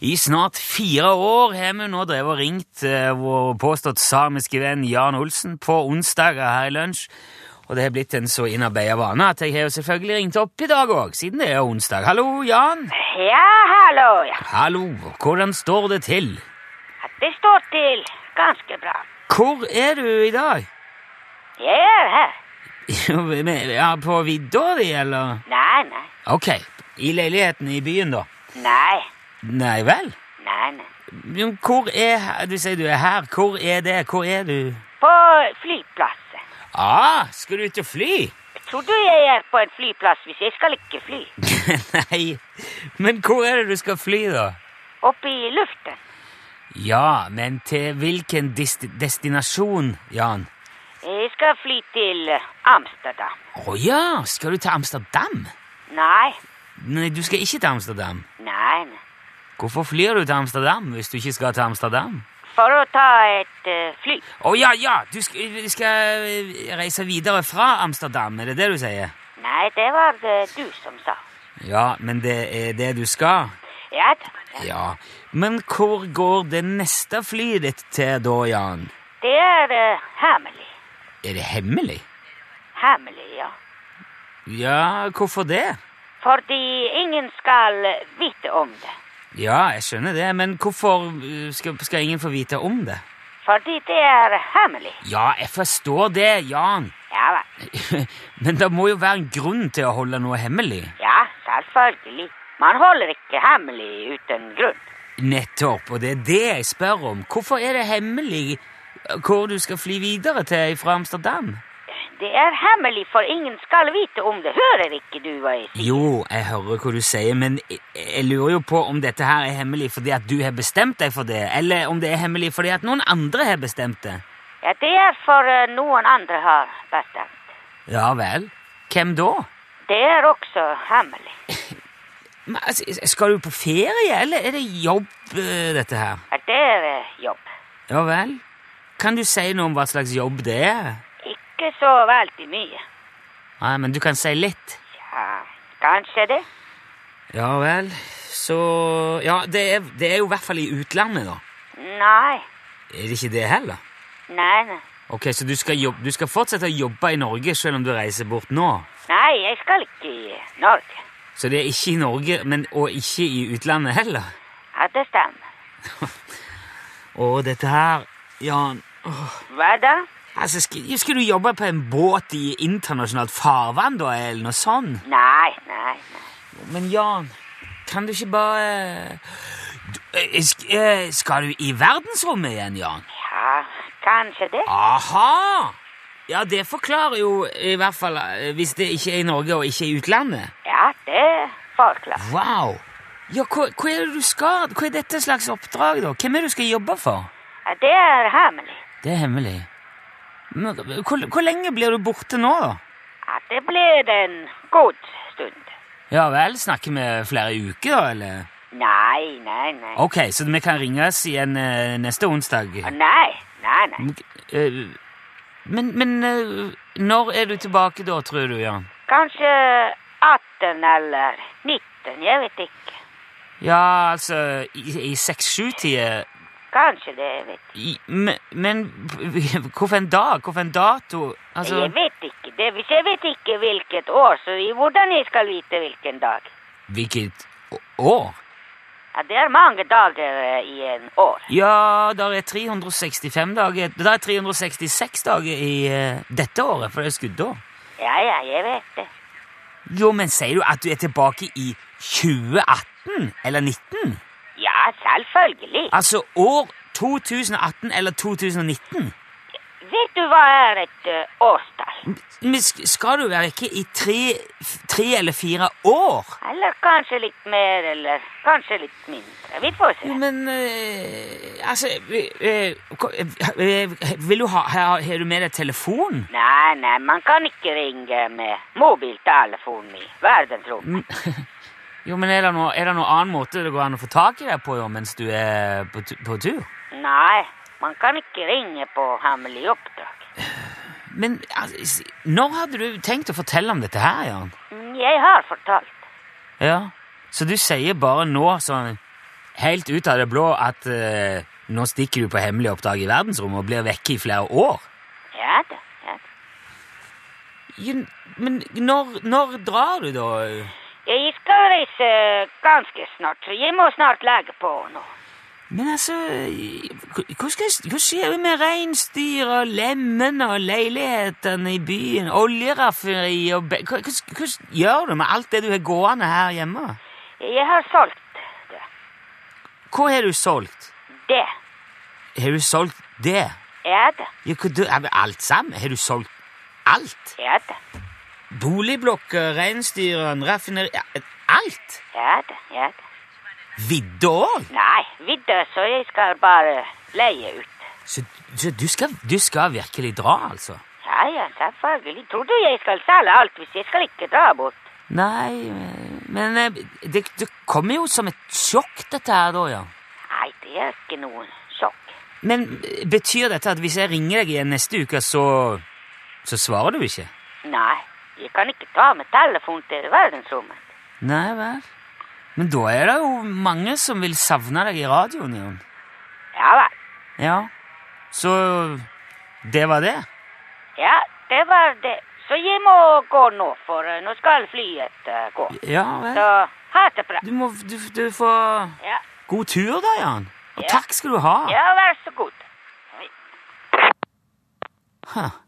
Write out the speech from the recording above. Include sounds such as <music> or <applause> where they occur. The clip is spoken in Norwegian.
I snart fire år har vi nå drevet og ringt eh, vår påstått samiske venn Jan Olsen på onsdager her i lunsj. Og det har blitt en så innarbeida vane at jeg har jo selvfølgelig ringt opp i dag òg, siden det er onsdag. Hallo, Jan. Ja, hallo, ja. Hallo. Hvordan står det til? Det står til ganske bra. Hvor er du i dag? <laughs> Jeg er her. Jo, men- ja, på vidda di, eller? Nei, nei. Ok. I leiligheten i byen, da? Nei, Nei vel? nei, nei. Jo, Hvor er he- Du sier du er her. Hvor er det? Hvor er du? På flyplasset. Ah, skal du ut og fly? Tror du jeg er på en flyplass hvis jeg skal ikke fly? <laughs> Nei, men hvor er det du skal fly, da? Opp i luften. Ja, men til hvilken dis destinasjon, Jan? Jeg skal fly til eh, Amsterdam. Å ja, skal du til Amsterdam? Nei, Nei, du skal ikke til Amsterdam. nei, nei. Hvorfor flyr du til Amsterdam hvis du ikke skal til Amsterdam? For å ta et eh, fly. Å ja, ja, du skal, du skal reise videre fra Amsterdam, er det det du sier? Nei, det var det du som sa. Ja, men det er det du skal. Ja da. ja. Ja, men hvor går det neste flyet ditt til da, Jan? Det er eh, hemmelig. Er det hemmelig? Hemmelig, ja. Ja, hvorfor det? Fordi ingen skal eh, vite om det. Ja, jeg skjønner det, men hvorfor uh, skal, skal ingen få vite om det? Fordi det er hemmelig. Ja, jeg forstår det, Jan. <laughs> Ja vel. men det må jo være en grunn til å holde noe hemmelig. Ja, selvfølgelig. Man holder ikke hemmelig uten grunn. Nettopp, og det er det jeg spør om. Hvorfor er det hemmelig eh, hvor du skal fly videre til fra Amsterdam? Det er hemmelig, for ingen skal vite om det. Hører ikke du hva jeg sier? Jo, jeg hører hva du sier, men jeg, jeg lurer jo på om dette her er hemmelig fordi at du har bestemt deg for det, eller om det er hemmelig fordi at noen andre har bestemt det. Ja, det er for eh, noen andre har bestemt. Ja vel. Hvem da? Det er også hemmelig. Men, altså, skal du på ferie, eller er det jobb, eh, dette her? Ja, det er eh, jobb. Ja vel. Kan du si noe om hva slags jobb det er? Ikke så veldig mye. Nei, men du kan si litt. Ja, kanskje det. Ja vel. Så Ja, det er, det er jo i hvert fall i utlandet, da. Nei, Er det ikke det heller? nei, nei. Ok, Så du skal, jobb, du skal fortsette å jobbe i Norge selv om du reiser bort nå? Nei, jeg skal ikke i Norge. Så det er ikke i Norge, men, og ikke i utlandet heller? Ja, det stemmer. Å, dette her Jan Hva da? Altså, skal, skal du jobbe på en båt i internasjonalt farvann, da, eller noe sånt? Nei, nei, nei. Men Jan, kan du ikke bare Du, eh, sk- eh, Skal du i verdensrommet igjen, Jan? Ja, kanskje det. Aha! Ja, det forklarer jo i hvert fall eh, hvis det ikke er i Norge og ikke i utlandet. Ja, det forklarer. Wow! Ja, hva, hva er det du skal? Hva er dette slags oppdrag, da? Hvem er det du skal jobbe for? Ja, Det er hemmelig. Det er hemmelig. Men, hvor, hvor lenge blir du borte nå, da? Ja, det blir en god stund. Ja vel, snakker vi flere uker, da, eller? Nei, nei, nei. Ok, så vi kan ringes igjen eh, neste onsdag? Nei, nei, nei. Eh, Men, men eh, når er du tilbake da, tror du, Jan? Kanskje 18 eller 19, jeg vet ikke. Ja, altså i, i 6-7-tida Kanskje det, jeg vet ikke. Men, men <laughs> hvorfor en dag? Hvorfor en dato? Altså, Jeg vet ikke det. Hvis jeg vet ikke hvilket år, så i hvordan jeg skal vite hvilken dag? hvilket å- år? Ja, det er mange dager eh, i en år. Ja, der er 365 dager Der er 366 dager i eh, dette året, for det er skuddår. Ja, ja, jeg vet det. Jo, men sier du at du er tilbake i 2018? Eller 19? Ja, selvfølgelig. Altså år 2018 eller 2019? Vet du hva er et eh, årstall? Men sk- skal du være vekke i tre, f- tre eller fire år? Eller kanskje litt mer, eller kanskje litt mindre. Vi får se. Jo, men eh, Altså eh, ko- eh, Vil du ha Har har du med deg telefon? Nei, nei, man kan ikke ringe med mobiltelefon i verdensrommet. Jo, men er det, noe, er det noen annen måte det går an å få tak i deg på jo, mens du er på, tu- på tur? Nei, man kan ikke ringe på hemmelig oppdrag. Men altså, s- når hadde du tenkt å fortelle om dette her, Jan? Mm, Jeg har fortalt. Ja. Så du sier bare nå sånn helt ut av det blå at eh, nå stikker du på hemmelig oppdrag i verdensrommet og blir vekke i flere år. Ja da. ja da. Jo, Men når, når drar du, da? Jeg skal reise ganske snart, så jeg må snart legge på nå. Men altså Hva, hva skal, jeg- hva skjer med reinsdyra, lemmene og leilighetene i byen? Oljeraffineri og be- hva, hva, hva gjør du med alt det du har gående her hjemme? Jeg har solgt det. Hva har du solgt? Det. Har du solgt det? Ja da. Ja, hva du, er det alt sammen? Har du solgt alt? Ja da. Boligblokker, reinsdyrene, raffineri ja, Alt? Ja da. Ja da. Vidda òg? Nei, videre, så jeg skal bare leie ut. Så, så du, skal, du skal virkelig dra, altså? Ja ja, selvfølgelig. Tror du jeg skal selge alt hvis jeg skal ikke dra bort? Nei, men eh, det, det kommer jo som et sjokk, dette her, da, ja. Nei, det er ikke noe sjokk. Men eh, betyr dette at hvis jeg ringer deg igjen neste uke, så Så svarer du ikke? Nei, jeg kan ikke ta med telefon til verdensrommet. Nei vel. Men da er det jo mange som vil savne deg i radioen, Jon. Ja vel. Ja. Så det var det? Ja, det var det. Så jeg må gå nå, for eh, nå skal flyet eh, gå. Ja vel. Så ha det bra. Du må du, du får Ja, God tur, da, Jan. Og Ja. takk skal du ha. ja vær så god. Oi. Huh.